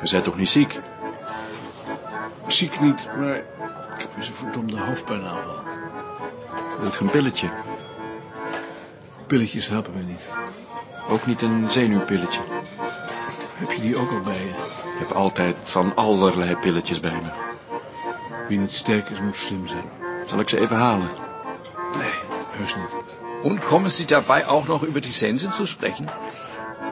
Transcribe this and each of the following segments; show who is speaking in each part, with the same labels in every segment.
Speaker 1: We zijn toch niet ziek?
Speaker 2: Ziek niet, maar ik heb eens een verdomde hoofdpijnaanval.
Speaker 1: Wil je een pilletje?
Speaker 2: Pilletjes helpen me niet.
Speaker 1: Ook niet een zenuwpilletje.
Speaker 2: Heb je die ook al bij je?
Speaker 1: Ik heb altijd van allerlei pilletjes bij me.
Speaker 2: Wie niet sterk is, moet slim zijn.
Speaker 1: Zal ik ze even halen?
Speaker 2: Nee, heus niet.
Speaker 3: Und kommen Sie dabei auch noch über die Sensen zu sprechen?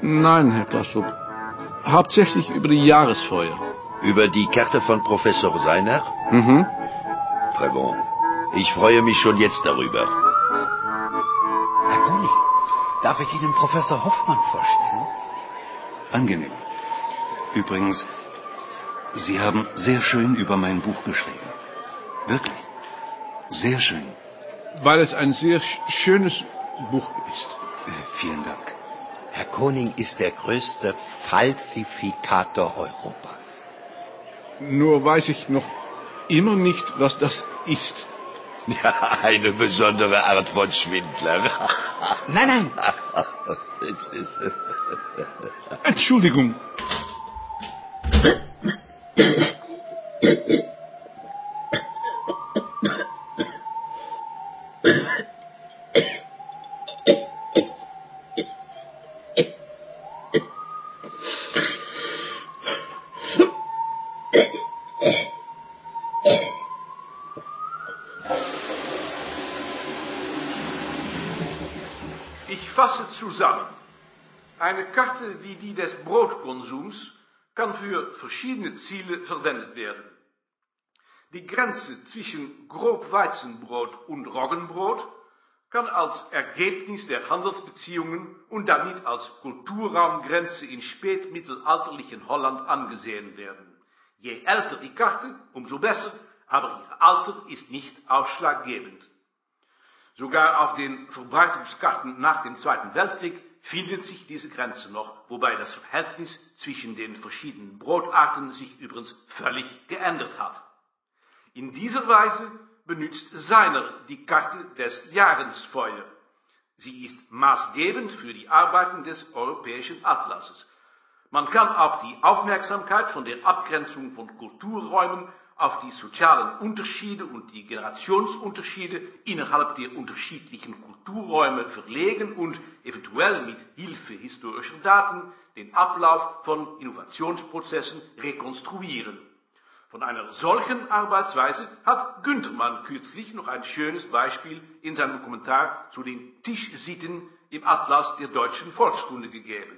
Speaker 2: Nein, Herr Plastrup. Hauptsächlich über die Jahresfeuer.
Speaker 4: Über die Karte von Professor Seiner? Mhm. Très bon. Ich freue mich schon jetzt darüber.
Speaker 5: Herr König, darf ich Ihnen Professor Hoffmann vorstellen?
Speaker 6: Angenehm. Übrigens, Sie haben sehr schön über mein Buch geschrieben. Wirklich. Sehr schön.
Speaker 2: Weil es ein sehr sch- schönes Buch ist.
Speaker 6: Äh, Vielen Dank.
Speaker 5: Herr Koning ist der größte Falsifikator Europas.
Speaker 2: Nur weiß ich noch immer nicht, was das ist.
Speaker 4: Ja, eine besondere Art von Schwindler.
Speaker 5: Nein, nein,
Speaker 4: Es ist, äh,
Speaker 2: Entschuldigung.
Speaker 7: Ich fasse zusammen. Eine Karte wie die des Brotkonsums kann für verschiedene Ziele verwendet werden. Die Grenze zwischen Grobweizenbrot und Roggenbrot kann als Ergebnis der Handelsbeziehungen und damit als Kulturraumgrenze in spätmittelalterlichen Holland angesehen werden. Je älter die Karte, umso besser, aber ihr Alter ist nicht ausschlaggebend. Sogar auf den Verbreitungskarten nach dem Zweiten Weltkrieg findet sich diese Grenze noch, wobei das Verhältnis zwischen den verschiedenen Brotarten sich übrigens völlig geändert hat. In dieser Weise benutzt Seiner die Karte des Jahresfeuer. Sie ist maßgebend für die Arbeiten des europäischen Atlases. Man kann auch die Aufmerksamkeit von der Abgrenzung von Kulturräumen auf die sozialen Unterschiede und die Generationsunterschiede innerhalb der unterschiedlichen Kulturräume verlegen und eventuell mit Hilfe historischer Daten den Ablauf von Innovationsprozessen rekonstruieren. Von einer solchen Arbeitsweise hat Günthermann kürzlich noch ein schönes Beispiel in seinem Kommentar zu den Tischsitten im Atlas der deutschen Volkskunde gegeben.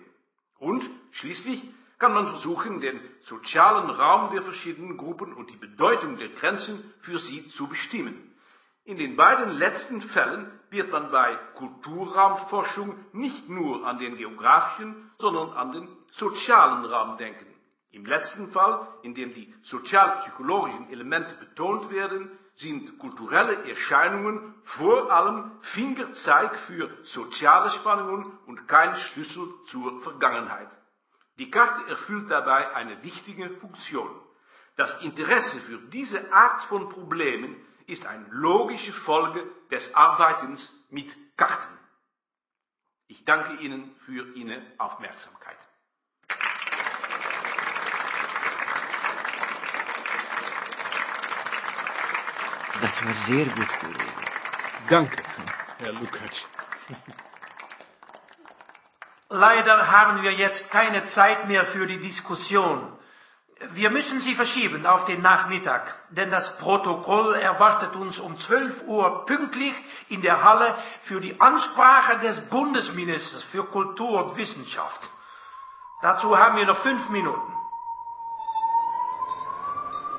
Speaker 7: Und schließlich kann man versuchen, den sozialen Raum der verschiedenen Gruppen und die Bedeutung der Grenzen für sie zu bestimmen. In den beiden letzten Fällen wird man bei Kulturraumforschung nicht nur an den geografischen, sondern an den sozialen Raum denken. Im letzten Fall, in dem die sozialpsychologischen Elemente betont werden, sind kulturelle Erscheinungen vor allem Fingerzeig für soziale Spannungen und kein Schlüssel zur Vergangenheit. Die Karte erfüllt dabei eine wichtige Funktion. Das Interesse für diese Art von Problemen ist eine logische Folge des Arbeitens mit Karten. Ich danke Ihnen für Ihre Aufmerksamkeit.
Speaker 5: das war sehr gut gelungen.
Speaker 2: Danke, Herr Lukacs.
Speaker 8: Leider haben wir jetzt keine Zeit mehr für die Diskussion. Wir müssen sie verschieben auf den Nachmittag, denn das Protokoll erwartet uns um 12 Uhr pünktlich in der Halle für die Ansprache des Bundesministers für Kultur und Wissenschaft. Dazu haben wir noch fünf Minuten.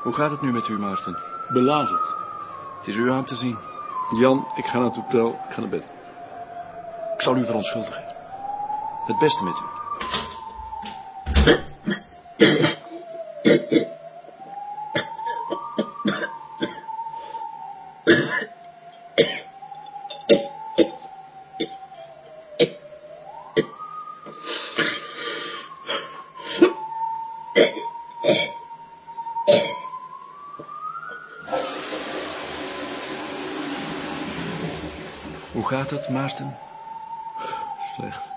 Speaker 1: Hoe gaat het nu met u, Maarten?
Speaker 2: Belazerd.
Speaker 1: Het is u aan te zien.
Speaker 2: Jan, ik ga naar het hotel. Ik ga naar bed.
Speaker 1: Ik zal u verontschuldigen. Het beste met u. Hoe gaat het, Maarten?
Speaker 2: Slecht.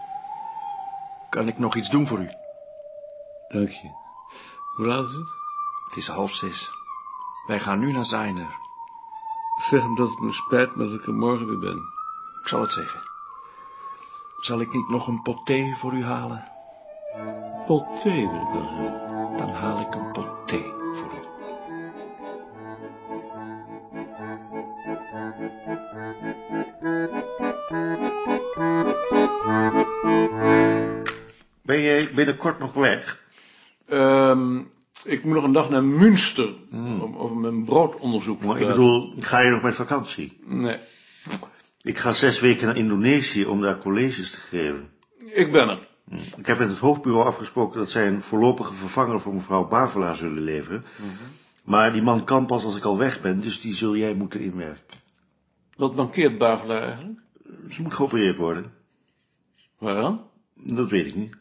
Speaker 1: Kan ik nog iets doen voor u?
Speaker 2: Dank je. Hoe laat is het?
Speaker 3: Het is half zes. Wij gaan nu naar Zijner.
Speaker 2: Zeg hem dat het me spijt maar dat ik er morgen weer ben.
Speaker 3: Ik zal het zeggen. Zal ik niet nog een pot thee voor u halen?
Speaker 2: Pot thee wil ik wel hebben.
Speaker 3: Dan haal ik een pot thee voor u.
Speaker 9: Ben je binnenkort nog weg?
Speaker 2: Ehm, ik moet nog een dag naar Münster om over mijn broodonderzoek te
Speaker 9: Maar ik
Speaker 2: praten.
Speaker 9: bedoel, ga je nog met vakantie?
Speaker 2: Nee,
Speaker 9: Ik ga zes weken naar Indonesië om daar colleges te geven.
Speaker 2: ik ben er.
Speaker 9: Ik heb met het hoofdbureau afgesproken dat zij een voorlopige vervanger voor mevrouw Bavelaar zullen leveren. Maar die man kan pas als ik al weg ben, dus die zul jij moeten inwerken.
Speaker 2: Wat mankeert Bavelaar eigenlijk?
Speaker 9: Ze moet geopereerd worden.
Speaker 2: Waaraan?
Speaker 9: Dat weet ik niet.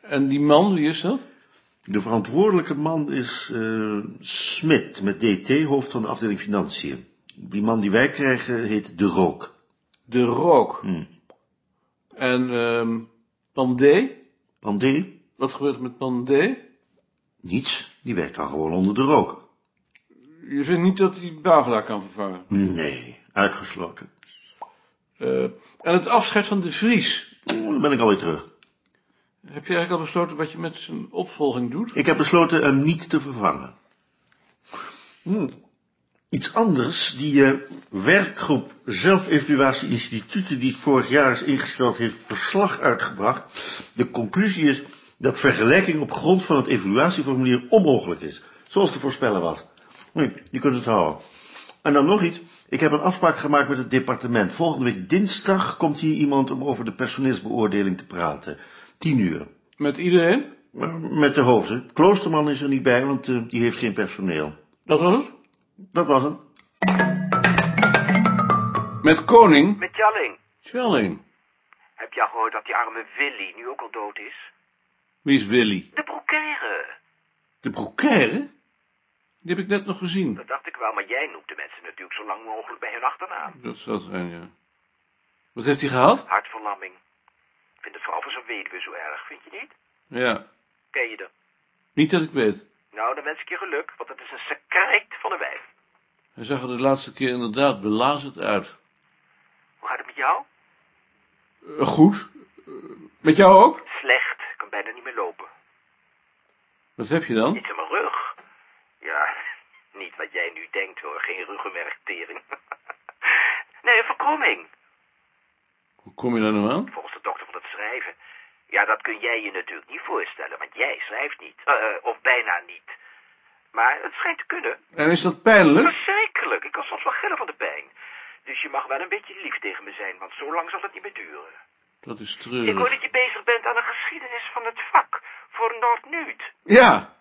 Speaker 2: En die man, wie is dat?
Speaker 9: De verantwoordelijke man is eh Smit, met DT, hoofd van de afdeling Financiën. Die man die wij krijgen heet De Rook.
Speaker 2: De Rook.
Speaker 9: Hm.
Speaker 2: En ehm Pandé?
Speaker 9: Pandé?
Speaker 2: Wat gebeurt er met Pandé?
Speaker 9: Niets. Die werkt dan gewoon onder de rook.
Speaker 2: Je vindt niet dat hij Bavelaar kan vervangen.
Speaker 9: Nee, uitgesloten.
Speaker 2: Eh, en het afscheid van de Vries.
Speaker 9: Oeh, Dan ben ik alweer terug.
Speaker 2: Heb je eigenlijk al besloten wat je met zijn opvolging doet?
Speaker 9: Ik heb besloten hem niet te vervangen. Hm, Iets anders, die eh, werkgroep Zelfevaluatie Instituten die het vorig jaar is ingesteld heeft verslag uitgebracht. De conclusie is dat vergelijking op grond van het evaluatieformulier onmogelijk is. Zoals te voorspellen was. Hm, je kunt het houden. En dan nog iets. Ik heb een afspraak gemaakt met het departement. Volgende week dinsdag komt hier iemand om over de personeelsbeoordeling te praten. Tien uur.
Speaker 2: Met iedereen?
Speaker 9: Met de hoofden. Kloosterman is er niet bij, want eh, die heeft geen personeel.
Speaker 2: Dat was het?
Speaker 9: Dat was het.
Speaker 2: Met Koning?
Speaker 10: Met Jalling,
Speaker 2: Schelling.
Speaker 10: heb jij gehoord dat die arme Willy nu ook al dood is?
Speaker 2: Wie is Willy?
Speaker 10: De broekaire.
Speaker 2: De broekaire? Die heb ik net nog gezien.
Speaker 10: Dat dacht ik wel, maar jij noemt de mensen natuurlijk zo lang mogelijk bij hun achternaam.
Speaker 2: Dat zou zijn, ja. Wat heeft hij gehad?
Speaker 10: Hartverlamming. Ik vind het vooral voor zo'n weduwe zo erg, vind je niet?
Speaker 2: Ja,
Speaker 10: Ken je dat?
Speaker 2: niet dat ik weet.
Speaker 10: Nou, dan wens ik je geluk, want het is een sekrijt van een wijf.
Speaker 2: Hij zag er de laatste keer inderdaad belazerd uit.
Speaker 10: Hoe gaat het met jou?
Speaker 2: Eh, goed. Eh, met jou ook?
Speaker 10: Slecht. Ik kan bijna niet meer lopen.
Speaker 2: Wat heb je dan?
Speaker 10: Iets aan mijn rug. Ja, niet wat jij nu denkt hoor. Geen ruggenmerktering. nee, een verkromming.
Speaker 2: Hoe kom je daar nou aan?
Speaker 10: Volgens de dokter van het schrijven. Ja, dat kun jij je natuurlijk niet voorstellen, want jij schrijft niet. Eh, eh, of bijna niet. Maar het schijnt te kunnen.
Speaker 2: En is dat pijnlijk?
Speaker 10: Verschrikkelijk. Ik kan soms wel gillen van de pijn. Dus je mag wel een beetje lief tegen me zijn, want zo lang zal het niet meer duren.
Speaker 2: Dat is
Speaker 10: Ik hoor
Speaker 2: treurig.
Speaker 10: dat je bezig bent aan een geschiedenis van het vak voor Noord-Nuut.
Speaker 2: Ja,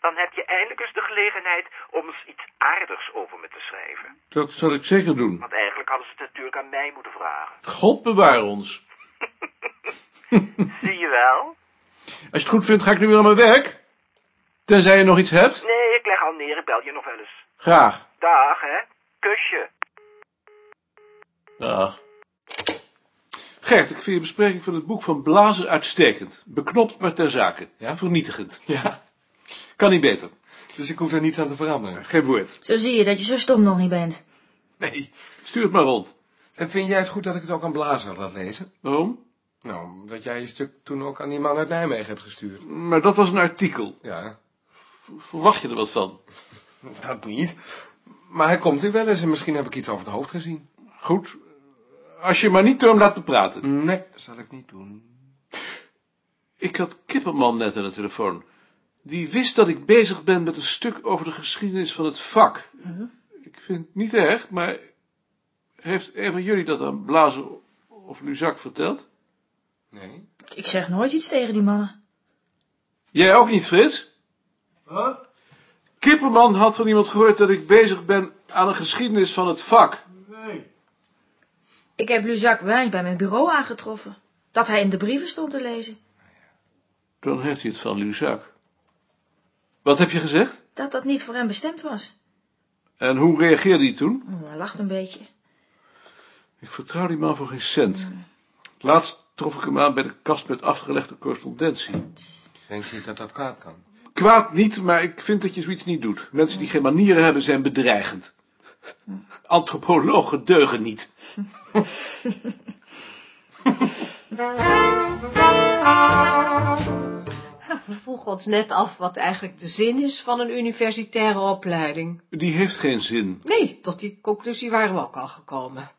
Speaker 10: Dan heb je eindelijk eens de gelegenheid om eens iets aardigs over me te schrijven.
Speaker 2: dat zal ik zeker doen.
Speaker 10: Want eigenlijk hadden ze het natuurlijk aan mij moeten vragen.
Speaker 2: God bewaar ons.
Speaker 10: Zie je wel?
Speaker 2: Als je het goed vindt, ga ik nu weer naar mijn werk. Tenzij je nog iets hebt.
Speaker 10: Nee, ik leg al neer. Ik bel je nog wel eens.
Speaker 2: Graag.
Speaker 10: Dag, hè? Kusje.
Speaker 2: Dag. Gert, ik vind je bespreking van het boek van Blazer uitstekend. Beknopt, maar ter zake. Ja, vernietigend.
Speaker 3: Ja,
Speaker 2: Kan niet beter.
Speaker 3: dus ik hoef daar niets aan te veranderen.
Speaker 2: Geen woord.
Speaker 11: Zo zie je dat je zo stom nog niet bent.
Speaker 2: Nee, stuur het maar rond.
Speaker 3: En vind jij het goed dat ik het ook aan Blazer laat lezen?
Speaker 2: Waarom?
Speaker 3: Nou, omdat jij je stuk toen ook aan die man uit Nijmegen hebt gestuurd.
Speaker 2: Maar dat was een artikel.
Speaker 3: Ja,
Speaker 2: Verwacht je er wat van?
Speaker 3: dat niet. Maar hij komt natuurlijk wel eens en misschien heb ik iets over het hoofd gezien.
Speaker 2: Goed. Als je maar niet door hem laat te praten.
Speaker 3: Nee, zal ik niet doen.
Speaker 2: Ik had Kipperman net aan de telefoon. Die wist dat ik bezig ben met een stuk over de geschiedenis van het vak.
Speaker 11: Mhm.
Speaker 2: Ik vind het niet erg, maar heeft een van jullie dat aan Blazer of Luzak verteld?
Speaker 3: Nee?
Speaker 11: Ik zeg nooit iets tegen die mannen.
Speaker 2: Jij ook niet, Frits? Kipperman had van iemand gehoord dat ik bezig ben aan een geschiedenis van het vak.
Speaker 11: Ik heb Luzak Wijn bij mijn bureau aangetroffen. Dat hij in de brieven stond te lezen.
Speaker 2: Dan heeft hij het van Luzak. Wat heb je gezegd?
Speaker 11: Dat dat niet voor hem bestemd was.
Speaker 2: En hoe reageerde hij toen?
Speaker 11: Hm, Hij lacht een beetje.
Speaker 2: Ik vertrouw die man voor geen cent. Laatst trof ik hem aan bij de kast met afgelegde correspondentie.
Speaker 6: Denk je dat dat kwaad kan?
Speaker 2: Kwaad niet, maar ik vind dat je zoiets niet doet. Mensen die geen manieren hebben, zijn bedreigend. Antropologen deugen niet.
Speaker 12: We vroegen ons net af wat eigenlijk de zin is van een universitaire opleiding.
Speaker 2: Die heeft geen zin.
Speaker 12: Nee, tot die conclusie waren we ook al gekomen.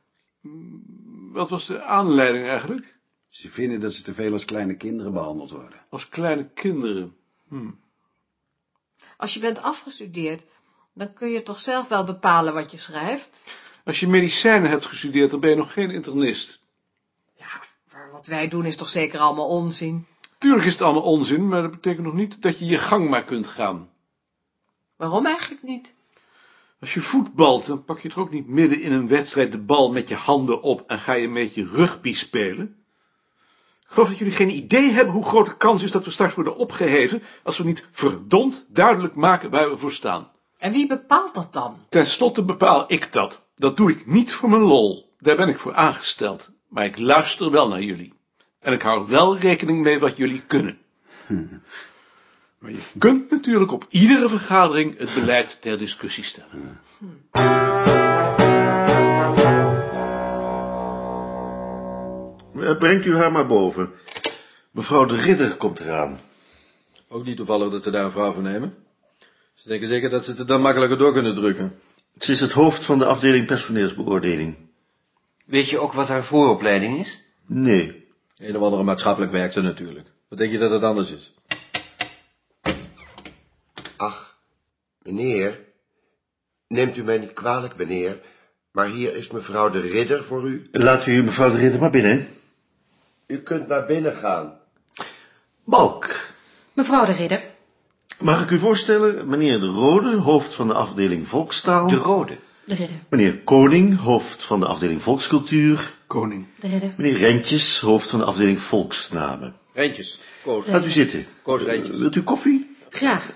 Speaker 2: Wat was de aanleiding eigenlijk?
Speaker 13: Ze vinden dat ze te veel als kleine kinderen behandeld worden.
Speaker 2: Als kleine kinderen? Hm.
Speaker 12: Als je bent afgestudeerd, dan kun je toch zelf wel bepalen wat je schrijft?
Speaker 2: Als je medicijnen hebt gestudeerd, dan ben je nog geen internist.
Speaker 12: Ja, maar wat wij doen is toch zeker allemaal onzin?
Speaker 2: Tuurlijk is het allemaal onzin, maar dat betekent nog niet dat je je gang maar kunt gaan.
Speaker 12: Waarom eigenlijk niet?
Speaker 2: Als je voetbalt, dan pak je er ook niet midden in een wedstrijd de bal met je handen op en ga je een beetje rugby spelen. Ik geloof dat jullie geen idee hebben hoe groot de kans is dat we straks worden opgeheven als we niet verdomd duidelijk maken waar we voor staan.
Speaker 12: En wie bepaalt dat dan?
Speaker 2: Ten slotte bepaal ik dat. Dat doe ik niet voor mijn lol. Daar ben ik voor aangesteld. Maar ik luister wel naar jullie. En ik hou wel rekening mee wat jullie kunnen. Maar je kunt natuurlijk op iedere vergadering het beleid ter discussie stellen.
Speaker 9: Eh, Brengt u haar maar boven. Mevrouw de Ridder komt eraan.
Speaker 6: Ook niet toevallig dat ze daar een vrouw voor nemen. Ze denken zeker dat ze het er dan makkelijker door kunnen drukken.
Speaker 9: Ze is het hoofd van de afdeling personeelsbeoordeling.
Speaker 14: Weet je ook wat haar vooropleiding is?
Speaker 9: Nee.
Speaker 6: Een of andere maatschappelijk werkster natuurlijk. Wat denk je dat het anders is?
Speaker 15: Ach, meneer. Neemt u mij niet kwalijk, meneer. Maar hier is mevrouw de Ridder voor u.
Speaker 9: Laat u mevrouw de Ridder maar binnen.
Speaker 15: U kunt naar binnen gaan.
Speaker 9: Balk.
Speaker 16: Mevrouw de Ridder.
Speaker 9: Mag ik u voorstellen, meneer De Rode, hoofd van de afdeling Volkstaal.
Speaker 14: De Rode.
Speaker 16: De Ridder.
Speaker 9: Meneer Koning, hoofd van de afdeling Volkscultuur.
Speaker 2: Koning.
Speaker 16: De Ridder.
Speaker 9: Meneer Rentjes, hoofd van de afdeling Volksnamen.
Speaker 6: Rentjes, Koos.
Speaker 9: Laat u zitten. Eh,
Speaker 6: Koos Rentjes.
Speaker 9: Wilt u koffie?
Speaker 16: Graag.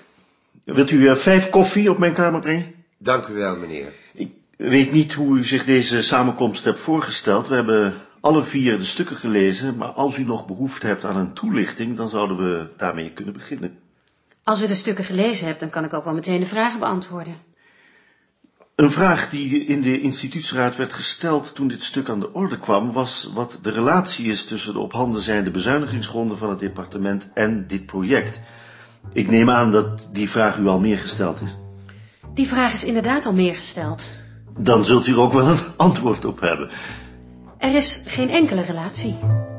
Speaker 9: Wilt u uh, vijf koffie op mijn kamer brengen?
Speaker 15: Dank u wel, meneer.
Speaker 9: Ik weet niet hoe u zich deze samenkomst hebt voorgesteld. We hebben alle vier de stukken gelezen, maar als u nog behoefte hebt aan een toelichting, dan zouden we daarmee kunnen beginnen.
Speaker 16: Als u de stukken gelezen hebt, dan kan ik ook wel meteen de vragen beantwoorden.
Speaker 9: Een vraag die in de instituutsraad werd gesteld toen dit stuk aan de orde kwam, was wat de relatie is tussen de op handen zijnde bezuinigingsgronden van het departement en dit project. Ik neem aan dat die vraag u al meer gesteld is.
Speaker 16: Die vraag is inderdaad al meer gesteld.
Speaker 9: Dan zult u er ook wel een antwoord op hebben.
Speaker 16: Er is geen enkele relatie.